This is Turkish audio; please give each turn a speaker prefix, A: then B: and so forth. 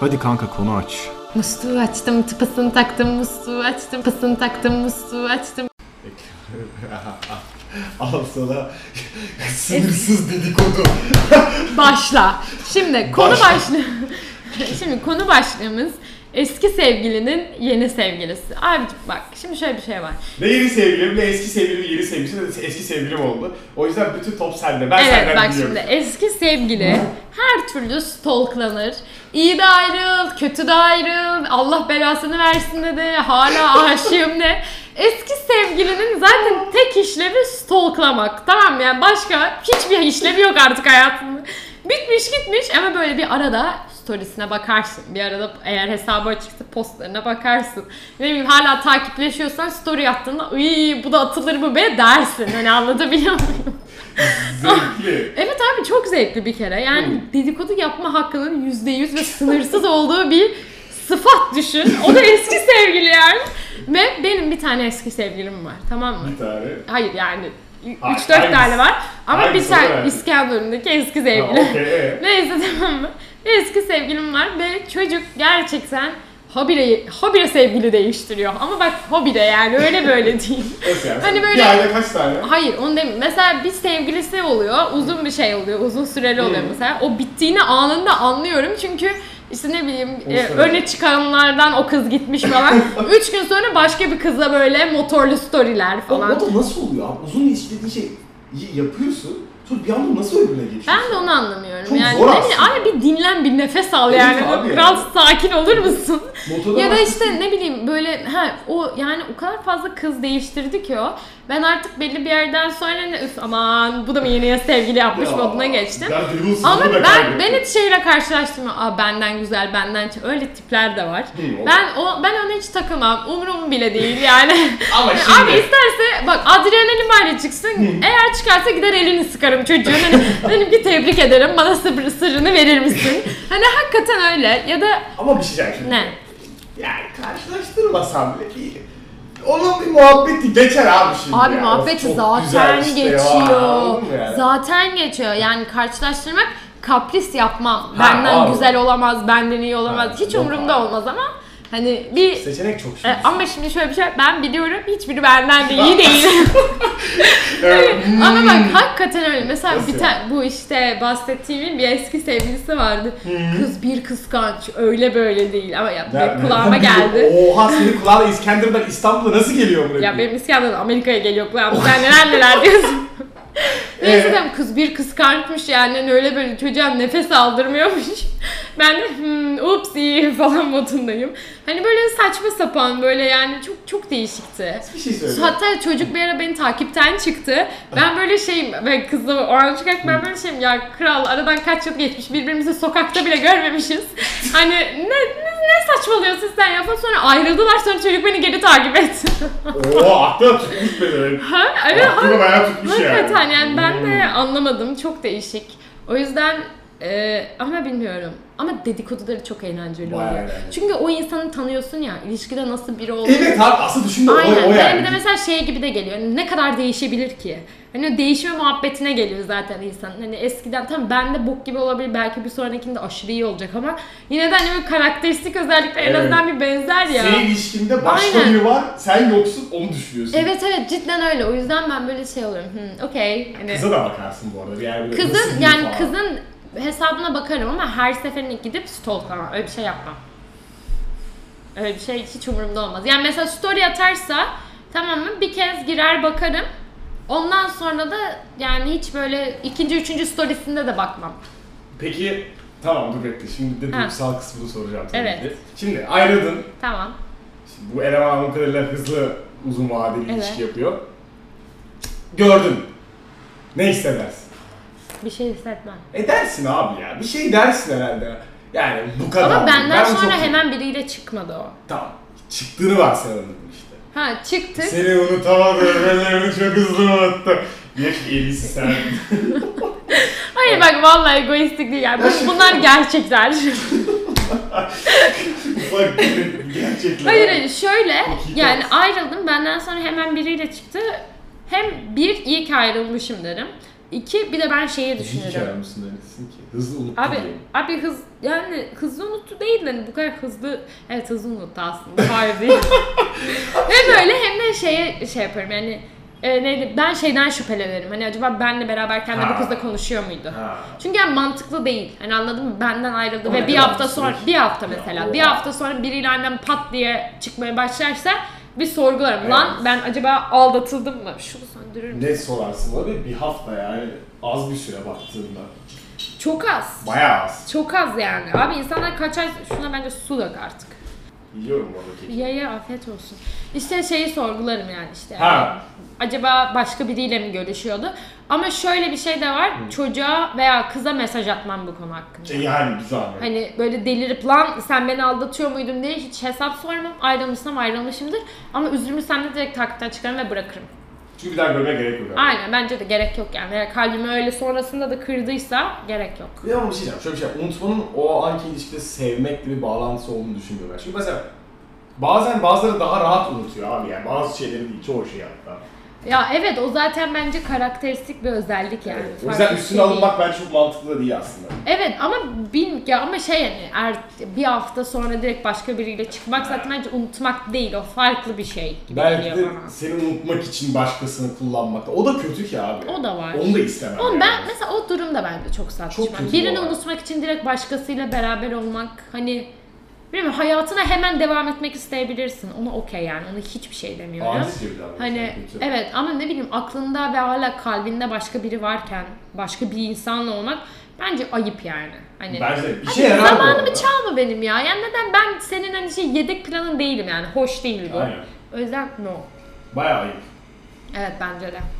A: Hadi kanka konu aç.
B: Musluğu açtım, tıpasını taktım, musluğu açtım, tıpasını taktım, musluğu açtım.
A: Al sana sınırsız dedikodu.
B: Başla. Şimdi konu
A: Başla.
B: başlığı. şimdi konu başlığımız eski sevgilinin yeni sevgilisi. Abicim bak şimdi şöyle bir şey var.
A: Ne yeni sevgilim ne eski sevgilim yeni sevgilisi ne eski sevgilim oldu. O yüzden bütün top sende. Ben
B: evet
A: senden
B: bak
A: biliyorum.
B: şimdi eski sevgili her türlü stalklanır. İyi de ayrıl, kötü de ayrıl, Allah belasını versin de de, hala aşığım de. Eski sevgilinin zaten tek işlevi stalklamak. Tamam mı? yani başka hiçbir işlevi yok artık hayatında. Bitmiş gitmiş ama böyle bir arada storiesine bakarsın. Bir arada eğer hesabı açıksa postlarına bakarsın. Ne bileyim hala takipleşiyorsan story attığında "Iy, bu da atılır mı be dersin. Hani anlatabiliyor muyum?
A: Zevkli.
B: Evet abi çok zevkli bir kere. Yani
A: Hmm.
B: dedikodu yapma hakkının %100 ve sınırsız olduğu bir sıfat düşün. O da eski sevgili yani. Ve benim bir tane eski sevgilim var tamam mı?
A: Bir tane.
B: Hayır yani
A: Hayır,
B: 3-4
A: aynısı.
B: tane var. Ama bir
A: Aynısı da
B: tane
A: yani.
B: İskenderun'daki eski
A: Ha,
B: sevgilim.
A: okey, evet.
B: Neyse tamam mı? Eski sevgilim var ve çocuk gerçekten habire, habire sevgili değiştiriyor. Ama bak habire yani öyle böyle değil.
A: Nasıl yani?
B: Hani böyle-
A: Bir ayda kaç tane?
B: Hayır onu demiyorum. Mesela bir sevgilisi oluyor. Uzun bir şey oluyor. Uzun süreli oluyor
A: Hmm.
B: mesela. O bittiğini anında anlıyorum. Çünkü işte ne bileyim
A: O
B: e,
A: sene.
B: öne çıkanlardan o kız gitmiş falan. Üç gün sonra başka bir kızla böyle motorlu storyler
C: O, o
B: falan.
C: da nasıl oluyor abi? Uzun ilişki dediğin şey y- yapıyorsun. Sonra bir anda nasıl öbürüne geçiyorsun?
B: Ben de onu anlamıyorum.
C: Çok
B: yani
C: zor
B: ne bileyim,
C: aslında.
B: abi bir dinlen bir nefes al
C: Evet
B: yani.
C: abi ya.
B: Biraz sakin olur musun?
C: Motorda
B: ya da
C: başlasın.
B: işte ne bileyim böyle ha o yani o kadar fazla kız değiştirdi ki o. Ben artık belli bir yerden sonra ne üf aman bu da mı yeniye sevgili yapmış
C: Ya,
B: moduna geçtim.
A: Ben duygusuzluğu
B: Ama
A: da
B: ben
A: kaybettim.
B: ben hiç şeyle karşılaştım. Aa benden güzel, benden çe- öyle tipler de var.
A: Hı, o-
B: Ben o ben ona hiç takılmam. Umurum bile değil yani.
A: Ama şimdi.
B: Abi isterse bak adrenalin bari çıksın. Eğer çıkarsa gider elini sıkarım çocuğun. Hani dedim ki tebrik ederim. Bana sır- sırrını verir misin? Hani hakikaten öyle ya da
A: Ama bir şey söyleyeceğim şimdi.
B: ne?
A: Yani karşılaştırmasam bile değil. Onun bir muhabbeti geçer abi şimdi.
B: Abi
A: ya.
B: muhabbet
A: Çok
B: zaten
A: güzel şey. işte ya.
B: geçiyor.
A: Anladın mı yani?
B: Zaten geçiyor. Yani karşılaştırmak kapris yapmam.
A: Ha,
B: benden
A: abi.
B: güzel olamaz, benden iyi olamaz.
A: Ha,
B: Hiç
A: yok
B: umurumda
A: abi.
B: olmaz ama hani bir
A: Seçenek çok
B: E,
A: şimdi.
B: ama şimdi şöyle bir şey ben biliyorum hiçbiri benden de iyi değil.
A: Evet.
B: ama bak hakikaten öyle. Mesela
A: Hmm. Nasıl
B: bir tane bu işte bahsettiğimin bir eski sevgilisi vardı.
A: Hmm.
B: Kız bir kıskanç öyle böyle değil ama ya,
A: Ya,
B: kulağıma
A: nereden
B: geldi.
A: biliyorum? Oha senin kulağına İskender'den İstanbul'a nasıl geliyor buraya?
B: Ya benim İskender'den Amerika'ya geliyor kulağım. Sen neler neler diyorsun. Neyse
A: Ee?
B: tamam, kız bir kıskançmış yani Hani öyle böyle çocuğa nefes aldırmıyormuş. ben de hmm, upsi falan modundayım. Hani böyle saçma sapan böyle yani çok çok değişikti.
A: bir şey söyle.
B: Hatta çocuk bir ara beni takipten çıktı. Ben böyle şeyim, ben kızla o an çıkarken ben böyle şeyim ya kral aradan kaç yıl geçmiş birbirimizi sokakta bile görmemişiz. Hani ne, ne, ne saçmalıyorsun sen ya falan sonra ayrıldılar sonra çocuk beni geri takip etti.
A: Oo aklına tutmuş beni.
B: ha, evet, ha,
A: Aklına bayağı tutmuş yani.
B: hakikaten yani ben de
A: Hmm.
B: anlamadım çok değişik. O yüzden e, ama bilmiyorum. Ama dedikoduları çok eğlenceli
A: Bayağı
B: oluyor.
A: eğlenceli.
B: Çünkü o insanı tanıyorsun ya, ilişkide nasıl biri olduğunu
A: Evet abi aslında düşündüğüm o,
B: Aynen.
A: o
B: Yani bir
A: yani.
B: de mesela şey gibi de geliyor. Hani Ne kadar değişebilir ki? Hani o değişme muhabbetine geliyor zaten insan. Hani eskiden tam bende bok gibi olabilir. Belki bir sonrakinde aşırı iyi olacak ama yine de hani böyle karakteristik özellikler en
A: Evet.
B: azından bir benzer ya.
A: Senin ilişkinde başka
B: Aynen.
A: biri var, sen yoksun onu düşünüyorsun.
B: Evet evet cidden öyle. O yüzden ben böyle şey oluyorum. Hmm, okey. Hani
A: Kıza da bakarsın bu arada. Yani böyle nasıl
B: kızın
A: biri
B: yani
A: falan.
B: kızın hesabına bakarım ama her seferinde gidip stalklamam. Öyle bir şey yapmam. Öyle bir şey hiç umurumda olmaz. Yani mesela story atarsa tamam mı bir kez girer bakarım. Ondan sonra da yani hiç böyle ikinci üçüncü storiesinde de bakmam.
A: Peki tamam dur bekle. Şimdi de
B: Ha.
A: duygusal kısmını soracağım tabii
B: Evet.
A: ki. Şimdi ayrıldın.
B: Tamam.
A: Şimdi bu eleman anladığım kadarıyla hızlı uzun vadeli
B: Evet.
A: ilişki yapıyor. Gördün. Ne hissedersin?
B: Bir şey hissetmem.
A: E dersin abi ya. Bir şey dersin herhalde. Yani bu kadar.
B: Ama benden
A: Ben
B: sonra
A: çok-
B: hemen biriyle çıkmadı o.
A: Tamam. Çıktığını varsayalım işte.
B: Ha çıktık.
A: Seni unutamadım. Beni çok hızlı unuttum. Geç elisi sen.
B: Hayır bak vallahi egoistik değil yani. Bu- Bunlar gerçekler.
A: Ufak bir gerçekler.
B: Hayır hayır şöyle
A: Çok iyi
B: yani
A: dans.
B: ayrıldım benden sonra hemen biriyle çıktı. Hem bir iyi ki ayrılmışım derim. İki bir de ben şeyi
A: İyi ki
B: düşünürüm.
A: aramızın öylesin ki. Hızlı unuttum.
B: Abi
A: diyelim.
B: abi hız yani hızlı unuttu değil değildi. Hani bu kadar hızlı, evet hızlı unuttu aslında. Hayır değil. Hem öyle hem de şeye şey yaparım yani e, neydi? Ben şeyden şüphelenirim. Hani acaba benle beraberken de bu
A: Ha.
B: kızla konuşuyor muydu?
A: Ha.
B: Çünkü yani mantıklı değil. Hani anladın mı? Benden ayrıldı
A: Ama ne
B: ve bir
A: kadar
B: hafta
A: süreç?
B: sonra bir hafta mesela.
A: Ya,
B: Bir
A: oha.
B: hafta sonra biriyle annem pat diye çıkmaya başlarsa bir sorgularım.
A: Evet.
B: Lan ben acaba aldatıldım mı? Şunu söndürür müsün?
A: Ne sorarsın abi bir hafta yani az bir süre baktığında.
B: Çok az.
A: Bayağı az.
B: Çok az yani. Abi insanlar kaç ay şuna bence su dök artık.
A: Yiyorum oradaki.
B: Ya ya afiyet olsun. İşte şeyi sorgularım yani işte.
A: Ha.
B: Acaba başka biriyle mi görüşüyordu? Ama şöyle bir şey de var. Çocuğa veya kıza mesaj atmam bu konu hakkında.
A: E yani bir zahmet.
B: Hani böyle delirip lan sen beni aldatıyor muydun diye hiç hesap sormam. Ayrılmışsam ayrılmışımdır. Ama üzülmüşsem de direkt takipten çıkarım ve bırakırım.
A: Çünkü bir daha görmeye gerek yok. abi.
B: Aynen bence de gerek yok yani. Eğer kalbimi öyle sonrasında da kırdıysa gerek yok.
C: Bir de ama bir şey diyeceğim. Şöyle bir şey. Unutmanın o anki ilişkide sevmek gibi bağlantısı olduğunu düşünmüyorum ben. Çünkü mesela
A: Bazen bazıları daha rahat unutuyor abi yani bazı şeyleri değil çoğu şeyi hatta.
B: Ya evet o zaten bence karakteristik bir özellik yani.
A: O
B: Farklı
A: yüzden
B: bir
A: üstüne
B: şey değil.
A: alınmak bence çok mantıklı da değil aslında.
B: Evet ama bin ya ama şey yani er, bir hafta sonra direkt başka biriyle çıkmak zaten bence unutmak değil o farklı bir şey gibi
A: Belki de
B: geliyor bana.
A: seni unutmak için başkasını kullanmak da. O da kötü ki abi.
B: O da var.
A: Onu da istemem. yani.
B: Oğlum ben mesela o durum da bence çok saçma.
A: Çok kötü
B: Birini
A: bu olay.
B: unutmak için direkt başkasıyla beraber olmak hani bilmiyorum hayatına hemen devam etmek isteyebilirsin. Ona okey yani ona hiçbir şey demiyorum.
A: Ailesi gibi davranıyor.
B: Hani
A: Kötü.
B: evet ama ne bileyim aklında ve hala kalbinde başka biri varken başka bir insanla olmak bence ayıp yani. Hani
A: Bence de bir
B: Hani
A: şey yarar bu
B: Zamanımı
A: arada.
B: çalma benim ya. Yani neden ben senin hani şey yedek planın değilim yani. Hoş değil bu.
A: Aynen.
B: O yüzden no.
A: Bayağı ayıp.
B: Evet bence de.